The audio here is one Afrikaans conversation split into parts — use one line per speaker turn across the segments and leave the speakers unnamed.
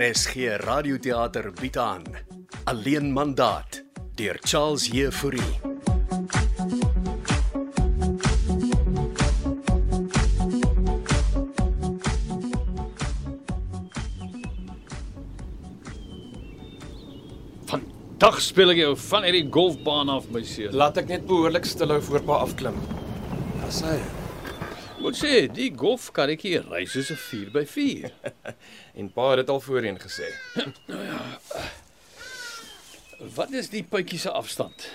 RSG Radioteater bied aan Alleen mandaat deur Charles Jefouri.
Vandag speel ek jou van hierdie golfbaan af, my seun.
Laat ek net behoorlik stilhou voor pa afklim. Dis hy.
Moet sê, die golfkarretjie ry soos 'n 4x4.
En pa het dit al voorheen gesê.
Wat is die puitjie se afstand?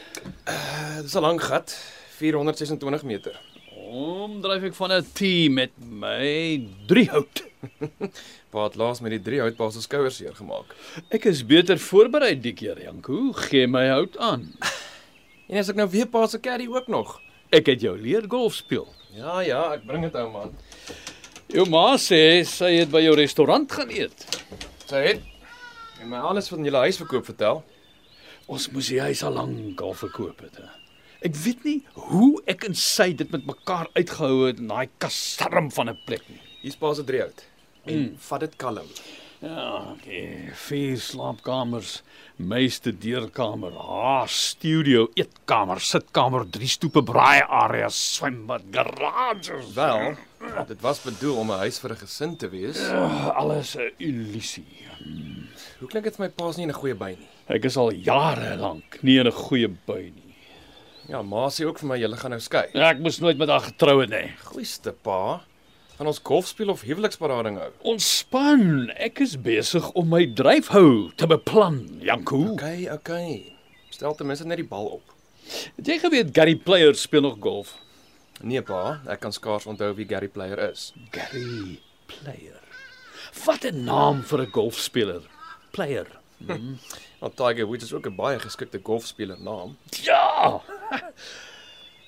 Uh, dis 'n lang gat, 426 meter.
Omdryf ek van 'n T met my driehout.
Pa het laas met die drie houtpa se skouers seer gemaak.
Ek is beter voorberei die keer, Janko. Gee my hout aan.
En as ek nou weer pa se caddy ook nog.
Ek het jou leer golf speel.
Ja ja, ek bring dit ou man.
Jou ma sê sy het by jou restaurant gaan eet.
Sy het en my alles van julle huis verkoop vertel.
Ons moes die huis al lank al verkoop het. He. Ek weet nie hoe ek en sy dit met mekaar uitgehou het in daai kasarm van 'n plek nie.
Hier's pa se drie hout. En mm. vat dit kalm.
Ja, okay. Vier slaapkamers, meeste deurkamer, haar studio, eetkamer, sitkamer, drie stoepe braaiarea, swembad, garage.
Wel, dit was bedoel om 'n huis vir 'n gesin te wees.
Ugh, alles 'n illusie.
Hoe klink dit vir my pa's nie in 'n goeie by nie.
Ek is al jare lank nie in 'n goeie bui nie.
Ja, ma sê ook vir my julle gaan nou skei.
Ek moes nooit met haar getrou het nie.
Goeiste pa. Gaan ons golf speel of huweliksparading hou?
Ontspan, ek is besig om my dryfhou te beplan, Janko.
Okay, okay. Stel ten minste net die bal op.
Het jy geweet Gary Player speel nog golf?
Nee pa, ek kan skaars onthou wie Gary Player is.
Gary Player. Wat 'n naam vir 'n golfspeler. Player.
Want Tiger Woods is ook 'n baie geskikte golfspeler naam.
Ja.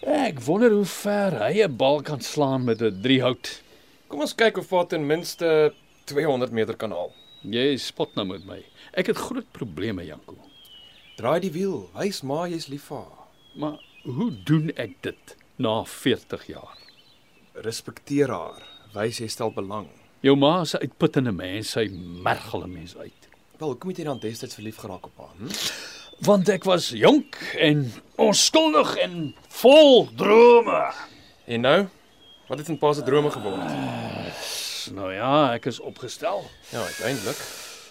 Ek wonder hoe ver hy 'n bal kan slaan met 'n driehout.
Kom ons kyk of wat ten minste 200 meter kan haal.
Jy spot nou met my. Ek het groot probleme, Janko.
Draai die wiel, wys ma jy's lief vir haar.
Maar hoe doen ek dit na 40 jaar?
Respekteer haar, wys jy stel belang.
Jou ma is 'n uitputtende mens, sy merg al 'n mens uit.
Wel, hoekom het jy dan destyds verlief geraak op haar? Hm?
Want ek was jonk en onskuldig en vol drome.
En nou, wat het in pa se drome geword?
Nou ja, ek is opgestel.
Ja, uiteindelik.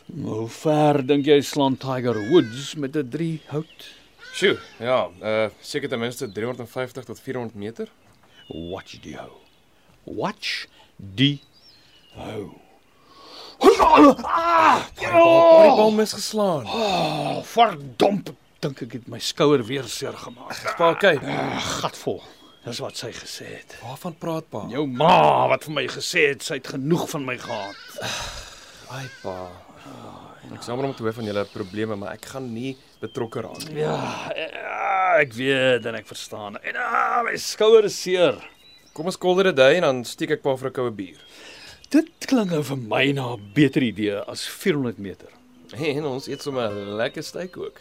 Maar hoe ver dink jy slaan Tiger Woods met 'n driehout?
Sjoe, ja, uh seker ten minste 350 tot 400 meter.
Watch die hou. Watch die hou. Ah!
Oh, die
Ja!
bal misgeslaan.
Oh, verdomp, dink ek het my skouer weer seer gemaak.
Pa, kyk.
Gatvol. Dis wat sy gesê het.
Waarvan praat pa?
Jou ma wat vir my gesê het sy het genoeg van my gehad.
Ai pa. Ek sê maar om te hoor van julle probleme, maar ek gaan nie betrokke raak nie.
Ja, eh, ek weet en ek verstaan. En ah, my skouer is seer.
Kom ons call dit 'n day en dan steek ek pa vir 'n koue bier.
Dit klink nou vir my na 'n beter idee as 400 meter.
En ons eet sommer 'n lekker steak ook.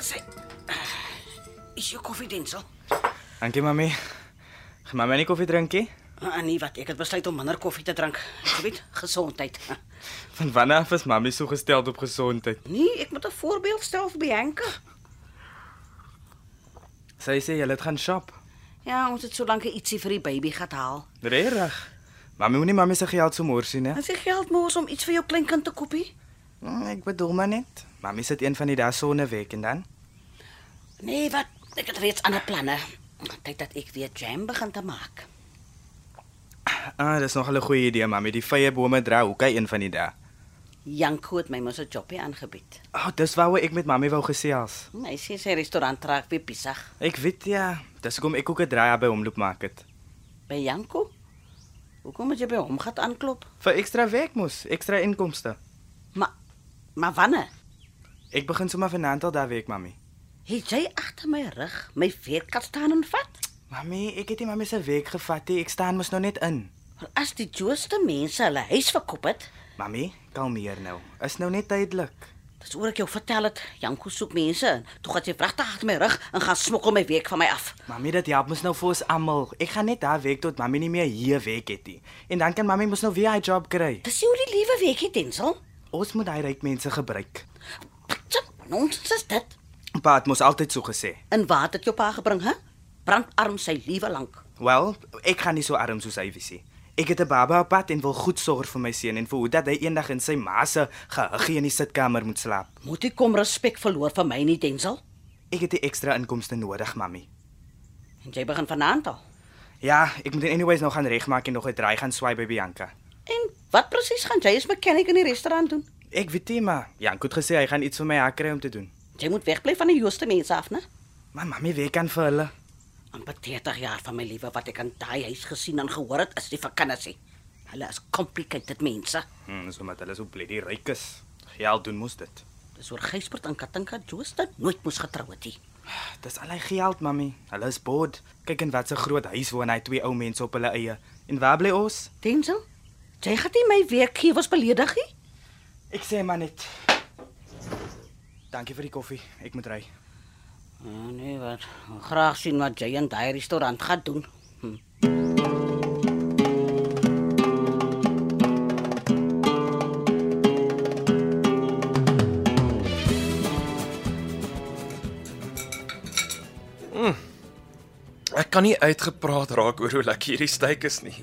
Sy eh, Is jou koffie diensel?
Dankie mami. Gaan mami nie koffie drinkie?
Ah nee, wat ek het besluit om minder koffie te drink. Jy weet, gesondheid.
Van wanneer af is mami so gestel op gesondheid?
Nee, ek moet 'n voorbeeld stel vir Bianca.
Sy sê jy het gaan shop.
Ja, ons het so lank ietsie vir die baby gehad haal.
Regtig? Mami moenie mami se geld so morsie ne.
En sy geld mors om iets vir jou kleinkind te koopie?
Hm, Ek bedoel maar net. Mami sit een van die dae sonne week en dan.
Nee, wat? Ek het reeds ander planne. Tyd dat ek weer jam begin te maak.
Ah, dis nog 'n goeie idee mami. Die vrye bome dra hoek hy een van die dae.
Janko het my mos 'n jobie aangebied.
Ag, oh, dis waaroor ek met mami wou gesels.
Hy sê sy restaurant raak weer besig.
Ek weet ja, dis hoekom ek ook 'n draai by hom loop maak het.
By Janko? Hoekom moet jy by hom gaan aanklop?
Vir ekstra werk mos, ekstra inkomste.
Maar maar wanneer?
Ek begin sommer vanaand al daai week mami.
Het jy agter my rug my veerkat staan en vat?
Mami, ek het nie mami se werk gevat nie. Ek staan mos nou net in.
Maar as die jooste mense hulle huis verkoop het,
Mamy, kalmeer nou. Is nou net tydelik.
Dis oor ek jou vertel het, Janko soek mense en toe gaan sy vragtig agter my rug en gaan smokkel my week van my af.
Mamy, dit help mos nou vir ons almal. Ek gaan net daar werk tot mamy nie meer hier werk het nie. En dan kan mamy mos nou weer 'n job kry.
Dis nie hoe die lewe werk nie, Denzel.
Ons moet daai ryk mense gebruik.
Tjap, Nonsens is dit.
Pa het mos altyd so gesê.
En waar het dit jou pa gebring, hè? Brandarm sy lewe lank.
Wel, ek gaan nie so arm soos hy wees nie. Ek het 'n baba op pad en wil goed sorg vir my seun en vir hoe dat hy eendag in sy ma se gehuggie in die sitkamer moet slaap.
Moet jy kom respek verloor vir my nie, Denzel.
Ek het 'n ekstra inkomste nodig, mamy.
En jy begin vanaand al.
Ja, ek moet anyways nog gaan regmaak en nog 'n draai gaan swaai by Bianca.
En wat presies gaan jy as mechanic in die restaurant doen?
Ek weet nie, maar Janko het gesê hy gaan iets vir my haar kry om te doen.
Jy moet wegbly van die jooste mense af, né?
Maar mamy weet kan vir hulle.
amper 30 jaar van my lewe wat ek aan daai huis gesien en gehoor het, is die vakansie. Hulle is complicated mense.
Hm, dis omdat hulle so bloody ryk is. Geld doen mos dit.
Dis oor Gysbert en Katinka Joost dat nooit moes getrou het nie.
Ah, Dis al hy geld, mamy. Hulle is bored. Kyk en wat 'n groot huis woon hy twee ou mense op hulle eie. En waar bly ons?
Denzel, jy gaan nie my werkgewers beledig nie.
Ek sê maar net. Dankie vir die koffie. Ek moet ry.
Oh, nee, wat graag sien wat jy in daai restaurant gaan doen. Hm.
Ek kan nie uitgepraat raak oor hoe lekker hierdie steak is nie.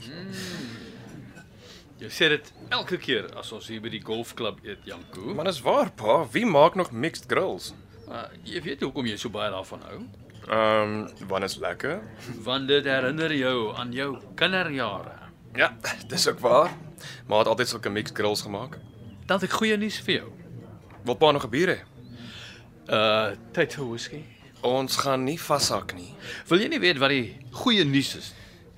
Jy sê dit elke keer as ons hier by die golfklub eet, Janko.
Maar dis waar, pa, wie maak nog mixed grills?
Maar eh, jy weet hoekom jy so baie daarvan hou?
Ehm, um, wanneer is lekker?
Want dit herinner jou aan jou kinderjare.
Ja, dis ook waar. Maar het altyd sulke mixed grills gemaak.
Dan het ek goeie nuus vir jou.
Wil pa nog 'n bier hê?
Uh, tyd vir whisky.
Ons gaan nie vashak nie.
Wil jy nie weet wat die goeie nuus is?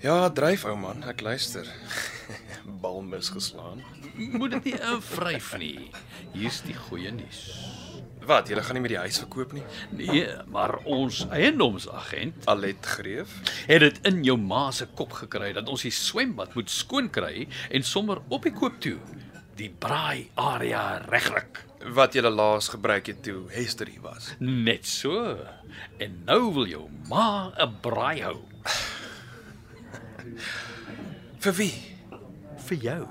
Ja, dryf ou man, ek luister. Balmis geslaan.
Moet dit nie invryf nie. Hier's die goeie nuus.
Wat, julle gaan nie met die huis verkoop nie?
Nee, maar ons eiendomsagent
Alet Greef?
het dit in jou ma se kop gekry dat ons die swembad moet skoon kry en sommer op die koop toe die braai area regryk.
Wat julle laas gebruik het toe Hester hier was.
Net so. En nou wil jou ma 'n braai hou
Vir wie?
vir jou.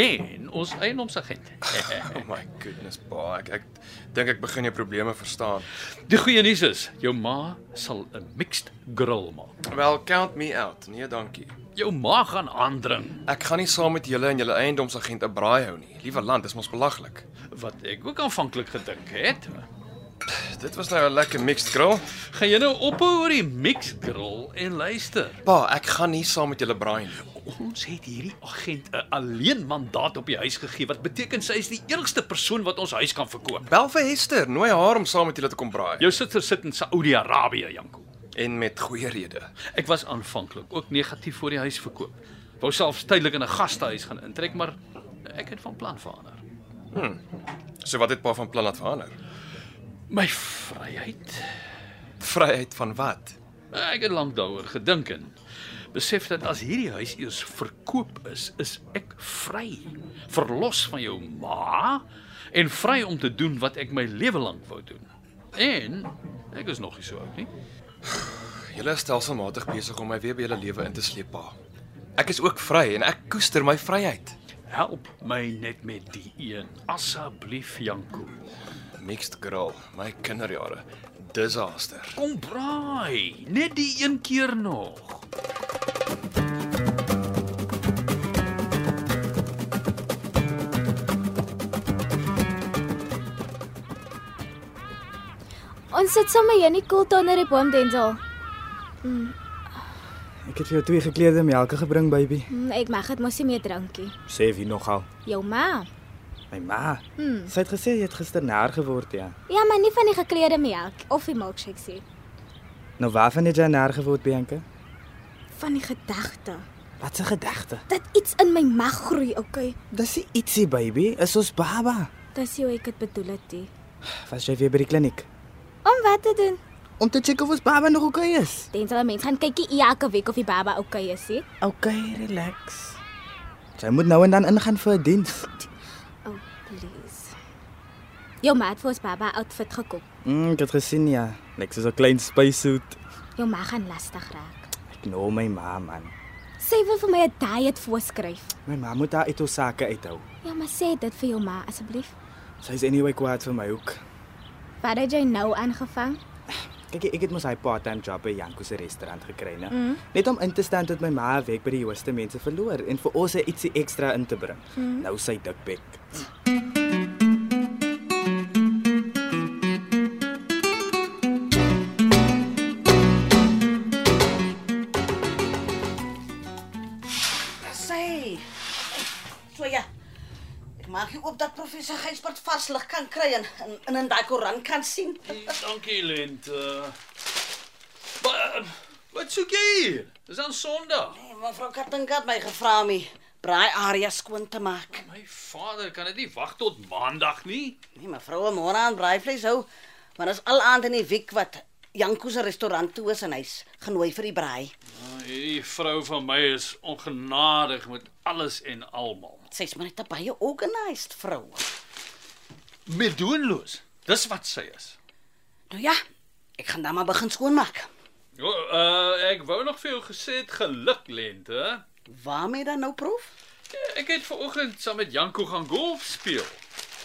En ons eiendomsagent.
Oh my goodness, pa, ek ek dink ek begin jou probleme verstaan.
Die goeie nuus is, jou ma sal 'n mixed grill maak.
Well, count me out. Nee, dankie.
Jou ma gaan aandring.
Ek gaan nie saam met julle en julle eiendomsagent 'n braai hou nie. Liewe land, dis mos belaglik.
Wat ek ook aanvanklik gedink het.
Dit was nou 'n lekker mixed grill.
Gaan jy nou ophou oor die mixed grill en luister.
Pa, ek gaan nie saam met julle braai nie.
Ons het hierdie agent 'n alleen mandaat op die huis gegee wat beteken sy is die enigste persoon wat ons huis kan verkoop.
Bel vir Hester, nooi haar om saam met julle te kom braai.
Jou suster sit in Saudi-Arabië, Janko.
En met goeie rede.
Ek was aanvanklik ook negatief vir die huis verkoop. Wou selfs tydelik in 'n gastehuis gaan intrek, maar ek het van plan verander.
So wat het pa van plan laat verander?
My vryheid.
Vryheid van wat?
Ek het lank daaroor gedink en besef dat as hierdie huis eers verkoop is, is ek vry. Verlos van jou ma en vry om te doen wat ek my lewe lank wou doen. En ek is nog nie so oud nie.
Julle is stelselmatig besig om my weer by julle lewe in te sleep, pa. Ek is ook vry en ek koester my vryheid.
Help my net met die een asseblief Janko.
Mixed grill, my kinderjare. Disaster.
Kom braai, net die een keer nog.
Ons sit saam met Jenny Koelt onder 'n boom Denzel.
Ek het vir jou twee gekleurde melke gebring, baby.
Hm, Ek mag dit mos nie meer drinkie.
Sê wie nogal?
Jou ma.
My ma.
Hm.
Sy het gesê jy het gister naar geword, ja.
Ja, maar nie van die gekleurde melk of die milkshake nie.
Nou waarvan het jy naar geword, Bianca?
Van die gedagte
Wat 'n gedagte.
dat iets in my mag groei, okay?
Dis nie ietsie, baby, is ons baba.
Dis hoe ek dit bedoel het. die.
Was jy weer by die kliniek?
Om wat te doen?
Om te check of ons baba nog oukei is.
Denzel, mense gaan kykie elke week of die baba okay is, hè?
Oukei, relax. Jy moet nou en dan ingaan vir 'n diens.
please. Jou maat het vir ons baba outfit gekoop.
Mm, ek het gesien ja, lyk soos 'n klein spacesuit.
Jou ma gaan lastig raak.
Ek nou my ma man.
Sy wil vir my 'n diet voorskryf.
My ma moet haar uit haar sake uithou.
Ja, maar sê dit vir jou ma asseblief.
Sy's anyway kwaad vir my ook.
Wat het jy nou aangevang?
Kyk, ek het mos hy part-time job by Janko se restaurant gekry, né? Mm. Net om in te staan tot my ma 'n week by die jongste mense verloor en vir ons 'n ietsie ekstra in te bring. Mm. Nou sy dikbek.
Sê. So ja. Ek maak hier op dat professor Gysbert varslig kan kry en en- en in daai koerant kan sien.
Dankie Lente. Maar, eh, Wat soek jy hier? Dis aan Sondag.
Nee, mevrou Katinka het my gevra om die braai area skoon te maak.
My vader kan dit nie wag tot Maandag nie.
Nee, mevrou wil môre aan braaivleis hou, maar is al aand in die week wat Janko se restaurant toe is en hy's genooi vir die braai.
Ah, Hierdie vrou van my is ongenadig met alles en almal.
Sy's maar net 'n baie organized vrou.
Medoenloos. Dis wat sy is.
Nou ja, ek gaan dan maar begin skoonmaak.
O, uh, ek wou nog vir jou gesê het geluk Lente.
Waarmee dan nou proef?
Ek het ver oggend saam met Janko gaan golf speel.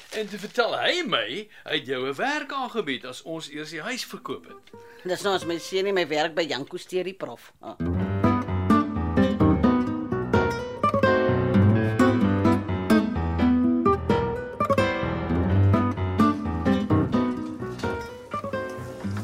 En toe vertel hy my hy het jou 'n werk aangebied as ons eers die huis verkoop het.
Dis nou as my seun nie my werk by Janko steur die prof. Ah.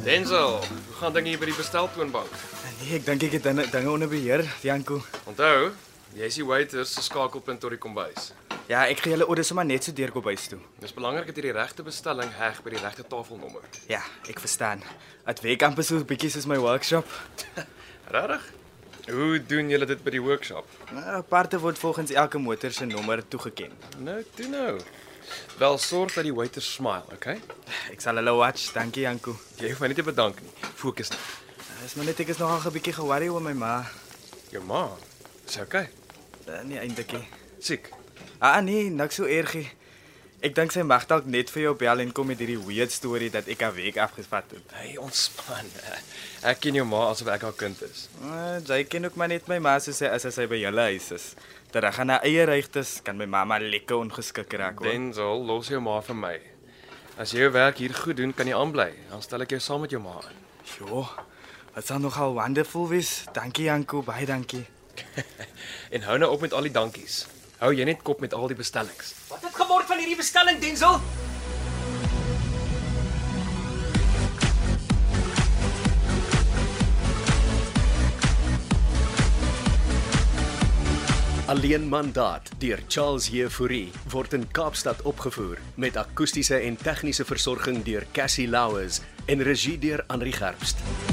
Denzel, hoe gaan dinge hier by die besteltoonbank?
Nee, ek dink ek het dinge- dinge onder beheer, Janko.
Onthou, jy's die waiter se skakelpunt tot die kombuis.
Ja, ek gee julle orders sommer net so deur kom huis toe.
Dis belangrik dat jy die regte bestelling heg by die regte tafelnommer.
Ja, ek verstaan. Dit werk amper so 'n bietjie soos my workshop.
Regtig? Hoe doen julle dit by die workshop?
Nou, parte word volgens elke motor se nommer toegeken.
Nou, toe nou. Wel sorg dat die waiter smile, okay?
Ek sal hulle watch. Dankie Janko.
Jy hoef my nie te bedank nie. Fokus net.
Dis maar net ek is nogal 'n bietjie ge-worry oor my ma.
Jou ma. Dis okay.
Eh, Nee, eintlik nie.
Siek.
Ah nee, niks so ergie. Ek dink sy mag dalk net vir jou bel en kom met hierdie weird storie dat ek haar week afgevat het.
Hey, ontspan. Ek ken jou ma asof ek haar kind is.
Uh, sy ken ook maar net my ma soos sy is as sy by julle huis is. Terug aan haar eie regtes kan my mamma lekker ongeskik raak hoor.
Denzel, los jou ma vir my. As jy jou werk hier goed doen, kan jy aanbly. Dan stel ek jou saam met jou ma in.
Jo. Wat sal nogal wonderful wees. Dankie Janko, baie dankie.
En hou nou op met al die dankies. Hou jy net kop met al die bestellings.
Wat het geword van hierdie bestelling, Denzel?
Alleen mandaat deur Charles Jefouri word in Kaapstad opgevoer met akoestiese en tegniese versorging deur Cassie Louws en regie deur Henri Gerst.